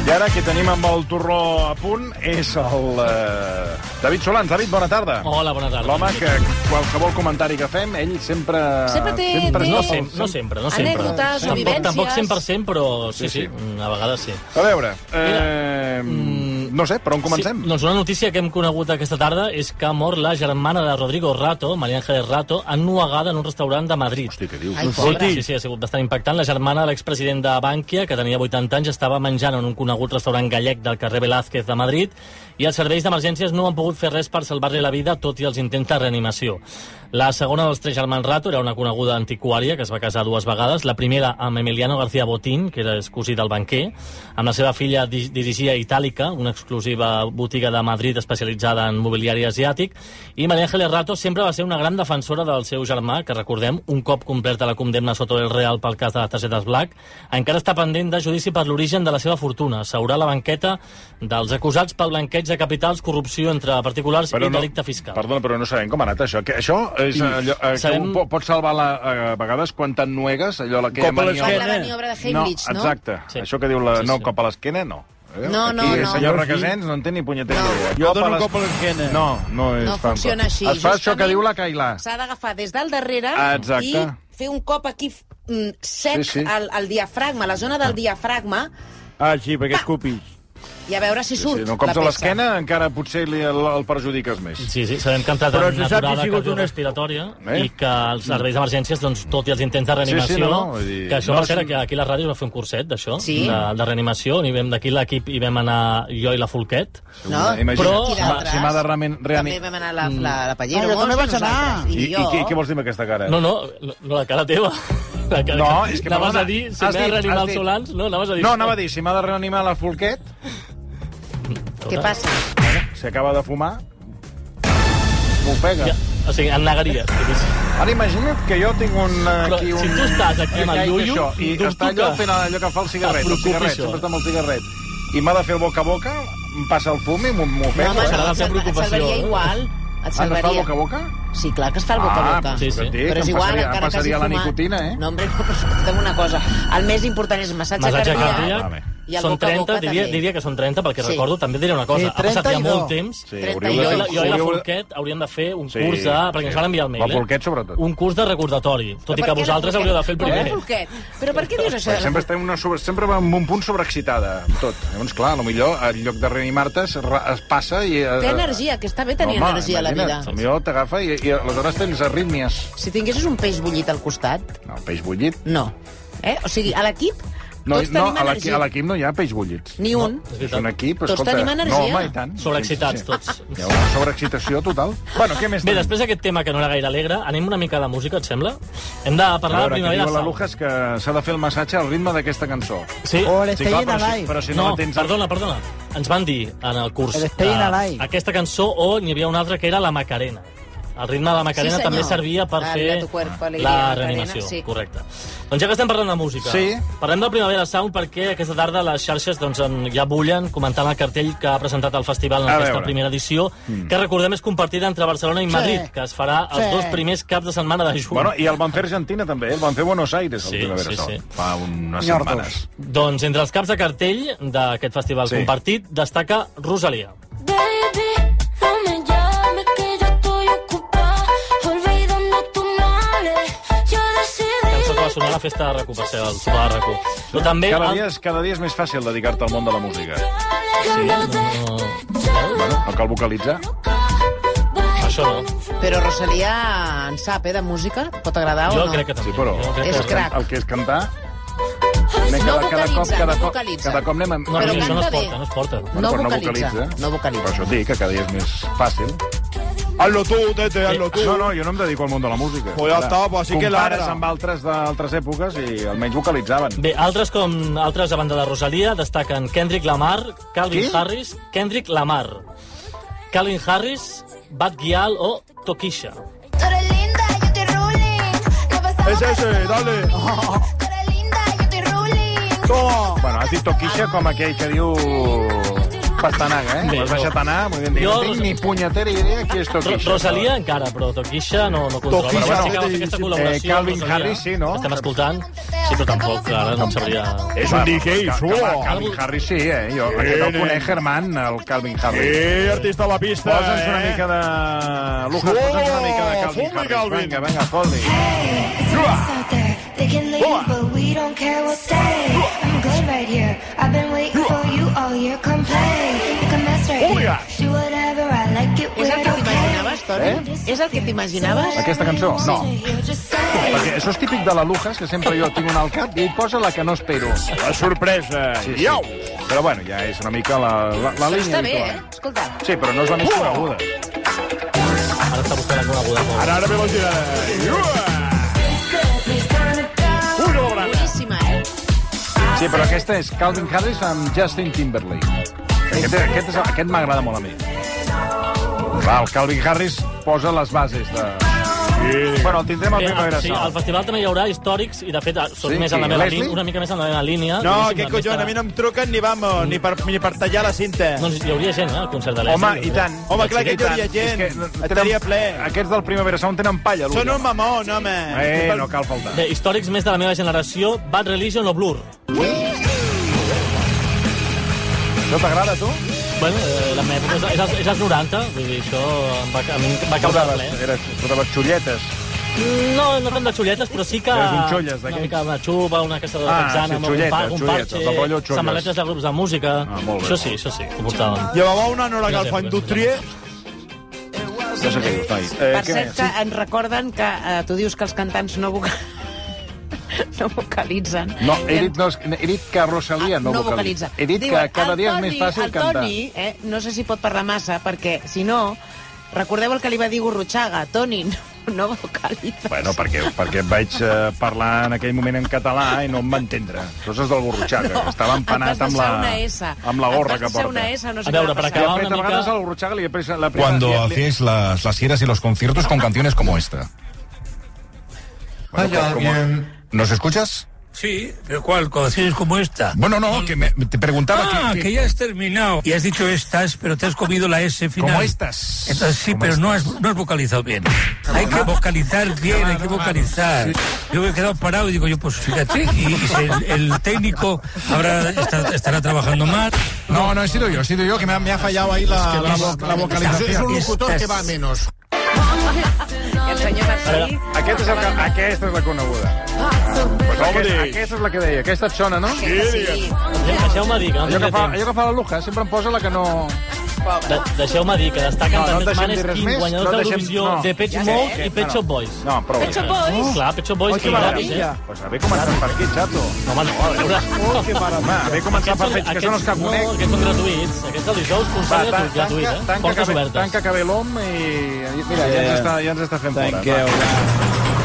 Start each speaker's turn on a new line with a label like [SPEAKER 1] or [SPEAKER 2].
[SPEAKER 1] I ara que tenim amb el torró a punt és el eh, David Solans. David, bona tarda.
[SPEAKER 2] Hola, bona tarda.
[SPEAKER 1] L'home que qualsevol comentari que fem, ell sempre...
[SPEAKER 3] Sempre té- té-
[SPEAKER 2] No,
[SPEAKER 1] és
[SPEAKER 2] sem no sempre, no sempre.
[SPEAKER 3] Anècdotes o
[SPEAKER 2] tampoc,
[SPEAKER 3] vivències.
[SPEAKER 2] tampoc 100%, però sí,
[SPEAKER 1] Sí, sí.
[SPEAKER 2] sí, a vegades sí.
[SPEAKER 1] A veure, eh, no sé, per on comencem?
[SPEAKER 2] mm, Sí, doncs una notícia que hem conegut aquesta tarda és que ha mort la germana de Rodrigo Rato, Maria Ángeles Rato, ennuegada en un restaurant de Madrid.
[SPEAKER 1] Hosti, què dius?
[SPEAKER 3] Ai, pobra.
[SPEAKER 2] Sí, sí, sí, ha sigut bastant impactant. La germana de l'expresident de Bànquia, que tenia 80 anys, estava menjant en un conegut restaurant gallec del carrer Velázquez de Madrid i els serveis d'emergències no han pogut fer res per salvar-li la vida, tot i els intents de reanimació. La segona dels tres germans Rato era una coneguda antiquària que es va casar dues vegades. La primera amb Emiliano García Botín, que era escusí del banquer. Amb la seva filla di- dirigia Itàlica, una exclusiva botiga de Madrid especialitzada en mobiliari asiàtic. I Maria Ángeles Rato sempre va ser una gran defensora del seu germà, que recordem, un cop completa la condemna sota el Real pel cas de les targetes Black, encara està pendent de judici per l'origen de la seva fortuna. Seurà la banqueta dels acusats pel blanqueig de capitals, corrupció entre particulars i delicte fiscal.
[SPEAKER 1] Perdona, però no sabem com ha anat això. Que això és allò eh, sabem...
[SPEAKER 2] Sabem-
[SPEAKER 1] que po- pot salvar la, eh, a vegades quan t'ennuegues, allò la que...
[SPEAKER 4] Cop a
[SPEAKER 1] maniobra-
[SPEAKER 4] l'esquena.
[SPEAKER 3] La maniobra de Heimlich, no?
[SPEAKER 1] Eh. Exacte.
[SPEAKER 2] Sí.
[SPEAKER 1] Això que diu la
[SPEAKER 2] Sí,
[SPEAKER 1] no
[SPEAKER 2] sí.
[SPEAKER 1] cop a l'esquena, no. Eh?
[SPEAKER 3] No, no,
[SPEAKER 1] Aquí,
[SPEAKER 3] no.
[SPEAKER 1] senyor
[SPEAKER 4] Jo sí.
[SPEAKER 1] Requesens, no en té ni punyetera
[SPEAKER 3] No.
[SPEAKER 1] idea.
[SPEAKER 4] Jo
[SPEAKER 1] Cop a
[SPEAKER 4] dono
[SPEAKER 1] l'es-
[SPEAKER 4] cop a l'esquena.
[SPEAKER 1] No, no és
[SPEAKER 3] No funciona així.
[SPEAKER 1] Es fa això
[SPEAKER 3] Justament
[SPEAKER 1] que diu la Cailà.
[SPEAKER 3] S'ha d'agafar des del darrere
[SPEAKER 1] Exacte.
[SPEAKER 3] i fer un cop aquí mm, sec
[SPEAKER 1] Sí, sí.
[SPEAKER 3] Al, al diafragma, a la zona del diafragma,
[SPEAKER 4] Ah, sí, perquè escupis.
[SPEAKER 3] i a veure si surt
[SPEAKER 1] Sí, no cops
[SPEAKER 3] la
[SPEAKER 1] a
[SPEAKER 3] peça.
[SPEAKER 1] l'esquena encara potser li, el, el perjudiques més.
[SPEAKER 2] Sí, sí, sabem que ha entrat
[SPEAKER 4] Però
[SPEAKER 2] en
[SPEAKER 4] se
[SPEAKER 2] una
[SPEAKER 4] sap que ha
[SPEAKER 2] aturada
[SPEAKER 4] sigut una-
[SPEAKER 2] cardiorrespiratòria
[SPEAKER 1] Eh?
[SPEAKER 2] i que els serveis d'emergències, doncs, tot i els intents de reanimació...
[SPEAKER 1] Sí, sí, no, no, vull dir,
[SPEAKER 2] Que això,
[SPEAKER 1] no
[SPEAKER 2] no, per cert,
[SPEAKER 1] és-
[SPEAKER 2] que aquí a la ràdio es va fer un curset d'això,
[SPEAKER 3] Sí?
[SPEAKER 2] de, de reanimació, on hi vam d'aquí l'equip i vam anar jo i la Folquet.
[SPEAKER 3] No?
[SPEAKER 1] eh, Imagina't.
[SPEAKER 2] Però-
[SPEAKER 3] I d'altres?
[SPEAKER 1] si m'ha de remen, reani...
[SPEAKER 3] També vam anar a la, la, la Pallero.
[SPEAKER 4] Ah, jo també vaig anar.
[SPEAKER 3] I,
[SPEAKER 1] I, i,
[SPEAKER 3] jo.
[SPEAKER 1] què, què vols dir amb aquesta cara?
[SPEAKER 2] No, no, no, la cara teva. La cara
[SPEAKER 1] No, és que,
[SPEAKER 2] anaves
[SPEAKER 1] perdona,
[SPEAKER 2] a dir, si
[SPEAKER 1] has
[SPEAKER 2] m'ha
[SPEAKER 1] dit, has
[SPEAKER 2] reanimat
[SPEAKER 1] dit.
[SPEAKER 2] el Solans, no, anaves a dir...
[SPEAKER 1] no anava a dir, si m'ha de reanimar la Folquet,
[SPEAKER 3] Què passa?
[SPEAKER 1] si acaba de fumar, m'ho pega.
[SPEAKER 2] Ja, o sigui, en negaries. diguéssim.
[SPEAKER 1] Ara imagina't que jo tinc un, eh,
[SPEAKER 2] Però
[SPEAKER 1] aquí un...
[SPEAKER 2] si tu estàs aquí amb el
[SPEAKER 1] eh,
[SPEAKER 2] Yuyu,
[SPEAKER 1] això, I
[SPEAKER 2] dubto
[SPEAKER 1] està allò
[SPEAKER 2] que-
[SPEAKER 1] fent allò que fa el cigarret, el
[SPEAKER 2] preocupi
[SPEAKER 1] cigarret,
[SPEAKER 2] això.
[SPEAKER 1] sempre està amb el cigarret. I m'ha de fer el boca a boca, em passa el fum i m'ho m'ho
[SPEAKER 3] No, home,
[SPEAKER 1] pego. eh?
[SPEAKER 2] serà
[SPEAKER 3] no,
[SPEAKER 2] la seva
[SPEAKER 3] et salva- et
[SPEAKER 2] preocupació,
[SPEAKER 3] salvaria
[SPEAKER 2] eh?
[SPEAKER 3] igual. Et
[SPEAKER 1] Ah, no es fa el
[SPEAKER 3] salvaria.
[SPEAKER 1] boca a boca?
[SPEAKER 3] Sí, clar que es fa el boca a boca.
[SPEAKER 1] Ah,
[SPEAKER 2] sí,
[SPEAKER 1] però
[SPEAKER 2] sí.
[SPEAKER 1] dic,
[SPEAKER 3] però
[SPEAKER 1] em
[SPEAKER 3] és igual,
[SPEAKER 1] passaria, em
[SPEAKER 3] encara que hagi
[SPEAKER 1] passaria la
[SPEAKER 3] fumat.
[SPEAKER 1] nicotina, eh?
[SPEAKER 3] No, hombre, no, però escolta'm una cosa. El més important és el massatge,
[SPEAKER 2] Massatge
[SPEAKER 1] cardíac.
[SPEAKER 2] cardíac.
[SPEAKER 1] vale.
[SPEAKER 3] I el
[SPEAKER 2] són
[SPEAKER 3] boca a
[SPEAKER 2] 30,
[SPEAKER 3] boca
[SPEAKER 2] diria,
[SPEAKER 3] també.
[SPEAKER 2] diria que són 30, perquè
[SPEAKER 3] Sí.
[SPEAKER 2] recordo, també et diré una cosa.
[SPEAKER 4] Sí,
[SPEAKER 2] ha passat ja
[SPEAKER 4] 32.
[SPEAKER 2] molt temps...
[SPEAKER 1] Sí,
[SPEAKER 3] Trenta
[SPEAKER 1] hauríeu
[SPEAKER 2] Jo,
[SPEAKER 1] de...
[SPEAKER 2] i la- jo i la
[SPEAKER 1] hauríeu de-
[SPEAKER 2] Folquet hauríem de fer un
[SPEAKER 1] Sí,
[SPEAKER 2] sí, curs de... Perquè
[SPEAKER 1] sí.
[SPEAKER 2] ens van enviar el mail, eh?
[SPEAKER 1] La Folquet, sobretot.
[SPEAKER 2] Un curs de recordatori, tot i que vosaltres hauríeu de fer el primer.
[SPEAKER 3] Però per què dius això?
[SPEAKER 1] Perquè sempre, estem una sobre, sempre va amb un punt sobreexcitada, amb tot. Llavors, clar, a lo millor, en lloc de reanimar-te, es, ra- es passa i... Eh,
[SPEAKER 3] Té energia, que està bé tenir
[SPEAKER 1] home,
[SPEAKER 3] energia a la vida.
[SPEAKER 1] imagina't, Potser t'agafa i, i aleshores tens arrítmies.
[SPEAKER 3] Si tinguessis un peix bullit al costat,
[SPEAKER 1] No, peix bullit.
[SPEAKER 3] no. Eh? O sigui, a l'equip
[SPEAKER 1] No,
[SPEAKER 3] tots
[SPEAKER 1] no,
[SPEAKER 3] tenim
[SPEAKER 1] a l'equip-
[SPEAKER 3] energia.
[SPEAKER 1] a l'equip no hi ha peix bullits.
[SPEAKER 3] Ni un.
[SPEAKER 2] És
[SPEAKER 1] És un
[SPEAKER 2] veritat.
[SPEAKER 1] equip,
[SPEAKER 3] Tots
[SPEAKER 1] escolta...
[SPEAKER 3] tenim
[SPEAKER 1] No,
[SPEAKER 3] energia.
[SPEAKER 1] home, i tant.
[SPEAKER 2] Sobreexcitats, tots.
[SPEAKER 1] Hi ha una sobreexcitació total. Bueno, què més
[SPEAKER 2] Bé,
[SPEAKER 1] tenim?
[SPEAKER 2] després d'aquest tema que no era gaire alegre, anem una mica de música, et sembla? Hem de
[SPEAKER 1] A
[SPEAKER 2] parlar de
[SPEAKER 1] veure, que
[SPEAKER 2] Primavera
[SPEAKER 1] diu la
[SPEAKER 2] Sound.
[SPEAKER 1] Luja és que s'ha de fer el massatge al ritme d'aquesta cançó.
[SPEAKER 2] Sí?
[SPEAKER 4] Ole, sí, clar,
[SPEAKER 1] però, si,
[SPEAKER 4] alive.
[SPEAKER 1] però si no,
[SPEAKER 2] No,
[SPEAKER 1] la tens...
[SPEAKER 2] perdona, perdona. Ens van dir en el curs
[SPEAKER 4] El Staying Alive.
[SPEAKER 2] aquesta cançó o n'hi havia una altra que era la Macarena. El ritme de la Macarena
[SPEAKER 3] senyor.
[SPEAKER 2] també servia per
[SPEAKER 3] Dale a tu
[SPEAKER 2] fer
[SPEAKER 3] cuerpo
[SPEAKER 2] la
[SPEAKER 3] alegría, Macarena,
[SPEAKER 2] reanimació.
[SPEAKER 3] sí.
[SPEAKER 2] Correcte. Doncs ja que estem parlant de música,
[SPEAKER 1] Sí.
[SPEAKER 2] parlem del Primavera Sound perquè aquesta tarda les xarxes doncs, en- ja bullen comentant el cartell que ha presentat el festival en
[SPEAKER 1] A
[SPEAKER 2] aquesta
[SPEAKER 1] veure. Mm.
[SPEAKER 2] primera edició, que recordem és compartida entre Barcelona i Madrid, que es farà els
[SPEAKER 4] Sí.
[SPEAKER 2] dos primers caps de setmana de juny.
[SPEAKER 1] Bueno, i el van fer a Argentina, també. eh? El van fer a Buenos Aires, el
[SPEAKER 2] Sí,
[SPEAKER 1] Primavera
[SPEAKER 2] sí,
[SPEAKER 1] Sound,
[SPEAKER 2] sí.
[SPEAKER 1] Fa unes
[SPEAKER 4] Nyordos.
[SPEAKER 1] setmanes.
[SPEAKER 2] Doncs entre els caps de cartell d'aquest festival
[SPEAKER 1] Sí.
[SPEAKER 2] compartit destaca Rosalia.
[SPEAKER 5] Baby, no me llames que yo estoy ocupada Olvidando tus males Yo
[SPEAKER 2] Cançó que va
[SPEAKER 5] decidí
[SPEAKER 2] sonar a la festa de RAC1, per ser el sopar de RAC1. Però també...
[SPEAKER 1] Cada dia, és, cada dia és més fàcil dedicar-te al món de la música.
[SPEAKER 2] No, no,
[SPEAKER 1] Bueno, no cal vocalitzar.
[SPEAKER 2] això no.
[SPEAKER 3] Però Rosalia en sap, eh, de música? Pot agradar
[SPEAKER 2] Jo
[SPEAKER 3] o no?
[SPEAKER 2] crec que també.
[SPEAKER 1] Sí, però...
[SPEAKER 2] Jo crec
[SPEAKER 3] És
[SPEAKER 2] que-
[SPEAKER 3] crac.
[SPEAKER 1] El que és cantar... anem
[SPEAKER 3] No
[SPEAKER 1] cada cop,
[SPEAKER 3] vocalitza,
[SPEAKER 1] cada
[SPEAKER 3] no
[SPEAKER 1] cop,
[SPEAKER 3] vocalitza.
[SPEAKER 1] cada cop anem... amb-
[SPEAKER 2] No, però
[SPEAKER 3] Però
[SPEAKER 2] això no es
[SPEAKER 3] canta bé.
[SPEAKER 2] porta, no es porta.
[SPEAKER 3] No
[SPEAKER 1] però
[SPEAKER 3] vocalitza, no vocalitza.
[SPEAKER 1] Per això et dic que cada dia és més fàcil.
[SPEAKER 4] Hazlo tú, Tete, hazlo tú.
[SPEAKER 1] No, no, jo no em dedico al món de la música.
[SPEAKER 4] Pues ya está, pues así que
[SPEAKER 1] Compares
[SPEAKER 4] ladra.
[SPEAKER 1] amb altres d'altres èpoques i almenys vocalitzaven.
[SPEAKER 2] Eh, Bé, altres com altres a banda de Rosalia destaquen Kendrick Lamar, Calvin
[SPEAKER 1] Qui?
[SPEAKER 2] Harris, Kendrick Lamar, Calvin Harris, Bad Gyal o Tokisha.
[SPEAKER 5] Tú eres linda
[SPEAKER 4] es ese? Dale.
[SPEAKER 5] Tú eres linda, yo estoy ruling.
[SPEAKER 4] Toma.
[SPEAKER 1] Bueno, has dit toquixa com aquell que diu pastanaga, eh?
[SPEAKER 2] Bé,
[SPEAKER 1] Bé, has deixat
[SPEAKER 2] no.
[SPEAKER 1] anar, vull dir,
[SPEAKER 2] Jo-
[SPEAKER 1] no tinc ni punyetera idea qui és
[SPEAKER 2] Ro
[SPEAKER 1] toquixa.
[SPEAKER 2] Rosalia encara, però Toquisha no, no controla.
[SPEAKER 4] Toquisha,
[SPEAKER 2] Però bueno,
[SPEAKER 4] no,
[SPEAKER 2] sí que va fer
[SPEAKER 4] eh,
[SPEAKER 2] aquesta col·laboració.
[SPEAKER 1] Calvin
[SPEAKER 2] amb Rosalia.
[SPEAKER 1] Harris, sí, no?
[SPEAKER 2] Estem escoltant. Sí, però tampoc, ara no em sabria...
[SPEAKER 4] És un DJ,
[SPEAKER 1] Cal-
[SPEAKER 4] suo.
[SPEAKER 1] Cal- Calvin Harris sí, eh? Jo, aquest el
[SPEAKER 4] nen.
[SPEAKER 1] conec, Germán, el Calvin Harris.
[SPEAKER 4] Eh, artista a la pista,
[SPEAKER 1] Posa'ns una
[SPEAKER 4] eh?
[SPEAKER 1] mica de... Lucas,
[SPEAKER 4] Suo,
[SPEAKER 1] posa'ns una mica de Calvin
[SPEAKER 4] fumi,
[SPEAKER 1] Harris.
[SPEAKER 4] Oh! Calvin.
[SPEAKER 1] Vinga, vinga, fot-li.
[SPEAKER 6] out there. They can leave, but we don't care. We'll stay. I'm good right here. I've been waiting for you all year. Come play. You can mess right
[SPEAKER 4] Oh my
[SPEAKER 6] here.
[SPEAKER 4] gosh.
[SPEAKER 6] Do whatever I like it
[SPEAKER 3] És el
[SPEAKER 6] weird,
[SPEAKER 3] que
[SPEAKER 6] okay?
[SPEAKER 3] t'imaginaves, Toni?
[SPEAKER 1] Eh?
[SPEAKER 3] És el que t'imaginaves?
[SPEAKER 1] Aquesta cançó? No.
[SPEAKER 6] Just say.
[SPEAKER 1] Perquè això és típic de la Lujas, que sempre jo tinc una al cap i ell posa la que no espero.
[SPEAKER 4] La sorpresa.
[SPEAKER 1] Sí, sí.
[SPEAKER 4] Iau.
[SPEAKER 1] Però bueno, ja és una mica la, la, la línia
[SPEAKER 3] Està bé, eh?
[SPEAKER 1] habitual.
[SPEAKER 3] Escolta.
[SPEAKER 1] Sí, però no és la més
[SPEAKER 4] Uah.
[SPEAKER 1] coneguda.
[SPEAKER 2] Ara està buscant alguna aguda. Molt.
[SPEAKER 4] Ara, ara ve la girada. Iua. Ui, que la barata.
[SPEAKER 3] Boníssima, eh?
[SPEAKER 1] Sí, però aquesta és Calvin Harris amb Justin Timberlake. Aquest, aquest, és, aquest m'agrada molt a mi. Va, el Calvin Harris posa les bases de...
[SPEAKER 4] Sí.
[SPEAKER 1] Bueno, el tindrem al
[SPEAKER 2] Bé,
[SPEAKER 1] Primavera
[SPEAKER 2] sí, al
[SPEAKER 1] Sound.
[SPEAKER 2] festival també hi haurà històrics i, de fet, són
[SPEAKER 1] Sí,
[SPEAKER 2] més en la
[SPEAKER 1] sí,
[SPEAKER 2] meva
[SPEAKER 1] Leslie?
[SPEAKER 2] línia, una mica més en la meva línia.
[SPEAKER 4] No,
[SPEAKER 2] diguéssim,
[SPEAKER 4] què
[SPEAKER 2] la
[SPEAKER 4] collons,
[SPEAKER 2] resta-
[SPEAKER 4] a mi no em truquen ni vamos, ni per, ni per tallar la cinta.
[SPEAKER 2] Doncs hi hauria gent, eh, al concert de l'Esli.
[SPEAKER 1] Home, i tant.
[SPEAKER 4] Home, clar que
[SPEAKER 1] I
[SPEAKER 4] hi hauria
[SPEAKER 1] tant.
[SPEAKER 4] gent.
[SPEAKER 1] És que
[SPEAKER 4] Estaria ple.
[SPEAKER 1] Aquests del Primavera Sound tenen palla, l'ull.
[SPEAKER 4] Són un mamón, home.
[SPEAKER 1] Eh, no cal faltar.
[SPEAKER 2] Bé, històrics més de la meva generació, Bad Religion o Blur.
[SPEAKER 1] No t'agrada, tu?
[SPEAKER 2] Bueno, eh, la meva època és, és, als- és als 90, vull dir, això em va, a mi em va causar
[SPEAKER 1] Portaves,
[SPEAKER 4] eh?
[SPEAKER 2] ple.
[SPEAKER 1] eres, portaves xulletes.
[SPEAKER 2] No, no tant de xulletes, però sí que...
[SPEAKER 1] Eres un xolles,
[SPEAKER 2] una
[SPEAKER 1] d'aquells.
[SPEAKER 2] mica una xupa, una casa de
[SPEAKER 1] Ah,
[SPEAKER 2] texana,
[SPEAKER 1] sí,
[SPEAKER 2] amb
[SPEAKER 1] xulletes,
[SPEAKER 2] un, par, un
[SPEAKER 1] xulletes,
[SPEAKER 2] parxe,
[SPEAKER 1] del rotllo xolles.
[SPEAKER 2] setmanetes de grups de música...
[SPEAKER 1] Ah, molt bé.
[SPEAKER 2] Això sí, això sí, ho portàvem.
[SPEAKER 4] Llevava una Nora Galfa Indústria.
[SPEAKER 1] No sé què dius, noi. Eh,
[SPEAKER 3] Per
[SPEAKER 1] què
[SPEAKER 3] cert,
[SPEAKER 1] més?
[SPEAKER 3] que ens recorden que eh, tu dius que els cantants no voca... no vocalitzen.
[SPEAKER 1] No, he dit, no, he dit que
[SPEAKER 3] Ah,
[SPEAKER 1] Rosalia no, vocalitza. He dit
[SPEAKER 3] Diuen,
[SPEAKER 1] que cada
[SPEAKER 3] el
[SPEAKER 1] dia és
[SPEAKER 3] Toni-
[SPEAKER 1] més fàcil
[SPEAKER 3] el
[SPEAKER 1] cantar.
[SPEAKER 3] Toni, eh, no sé si pot parlar massa, perquè, si no, recordeu el que li va dir Gurrutxaga, Toni, no, no vocalitzes.
[SPEAKER 1] Bueno, perquè, perquè vaig eh, parlar en aquell moment en català i no em va entendre. Coses del Gorrutxaga. No, Estava empanat amb la,
[SPEAKER 3] Una S.
[SPEAKER 1] amb la gorra
[SPEAKER 3] Et vas
[SPEAKER 1] que
[SPEAKER 3] deixar
[SPEAKER 1] porta.
[SPEAKER 3] Una S, no sé
[SPEAKER 2] A veure,
[SPEAKER 3] què
[SPEAKER 2] per
[SPEAKER 3] va passar.
[SPEAKER 1] De
[SPEAKER 2] acabar-
[SPEAKER 1] fet,
[SPEAKER 2] Una
[SPEAKER 1] a
[SPEAKER 2] mica-
[SPEAKER 1] vegades al Gorrutxaga li he pres la prima... li-
[SPEAKER 7] Cuando
[SPEAKER 1] li-
[SPEAKER 7] hacéis las, las giras y los conciertos con canciones como esta. Bueno,
[SPEAKER 8] Vaya,
[SPEAKER 7] como-
[SPEAKER 8] bien.
[SPEAKER 7] ¿Nos escuchas?
[SPEAKER 8] Sí, pero ¿cuál? Canciones como esta.
[SPEAKER 7] Bueno, no, que me, te preguntaba
[SPEAKER 8] Ah,
[SPEAKER 7] que,
[SPEAKER 8] que ya has terminado. Y has dicho estas, pero te has comido la S final.
[SPEAKER 7] como estas.
[SPEAKER 8] Entonces sí,
[SPEAKER 7] Como
[SPEAKER 8] pero
[SPEAKER 7] estas.
[SPEAKER 8] no has, no has vocalizado bien. Hay que vocalizar bien, hay que vocalizar. Yo me he quedado parado y digo yo, pues fíjate, y, y si el, el técnico habrá, está- estará trabajando mal.
[SPEAKER 7] No, no, he sido yo, he sido yo que me ha,
[SPEAKER 8] Ah,
[SPEAKER 7] me ha fallado ahí la, la, vo- la vocalización.
[SPEAKER 8] locutor que va menos.
[SPEAKER 3] I el senyor Marcelí...
[SPEAKER 1] Aquest és el que... Aquesta és la coneguda. Pues aquesta, aquesta és la que deia. Aquesta et sona, no?
[SPEAKER 3] Sí, sí.
[SPEAKER 2] Deixeu-me dir que... no em
[SPEAKER 1] Allò que, fa,
[SPEAKER 2] tinc
[SPEAKER 1] allò que fa la Luja, sempre em posa la que no...
[SPEAKER 2] De, deixeu-me dir que destaquen
[SPEAKER 1] No, no
[SPEAKER 2] també
[SPEAKER 1] deixem
[SPEAKER 2] Manes
[SPEAKER 1] dir res
[SPEAKER 2] King,
[SPEAKER 1] més,
[SPEAKER 2] guanyadors
[SPEAKER 1] no deixem-
[SPEAKER 2] d'Eurovisió
[SPEAKER 1] no.
[SPEAKER 2] de Pet
[SPEAKER 1] Ja sé,
[SPEAKER 2] Mode
[SPEAKER 1] eh,
[SPEAKER 2] i Pet
[SPEAKER 1] no.
[SPEAKER 2] Shop Boys.
[SPEAKER 1] No, prou.
[SPEAKER 3] Pet Shop Boys?
[SPEAKER 2] Oh, clar, Pet Shop Boys, que gratis, eh?
[SPEAKER 1] Pues haver començat per aquí, xato.
[SPEAKER 2] No, home, no, a veure...
[SPEAKER 1] Oh, que maravà. Haver començat per fets, que són els que
[SPEAKER 2] no,
[SPEAKER 1] conec.
[SPEAKER 2] aquests són gratuïts. Aquests el dijous,
[SPEAKER 1] Va,
[SPEAKER 2] concert
[SPEAKER 1] tan-
[SPEAKER 2] gratuït, gratuït, eh?
[SPEAKER 1] tanca, tanca,
[SPEAKER 2] Portes
[SPEAKER 1] que ve,
[SPEAKER 2] obertes.
[SPEAKER 1] tanca que ve l'hom i... Mira, ja ens, està, ja ens està fent fora.
[SPEAKER 4] Tanqueu.
[SPEAKER 1] Va.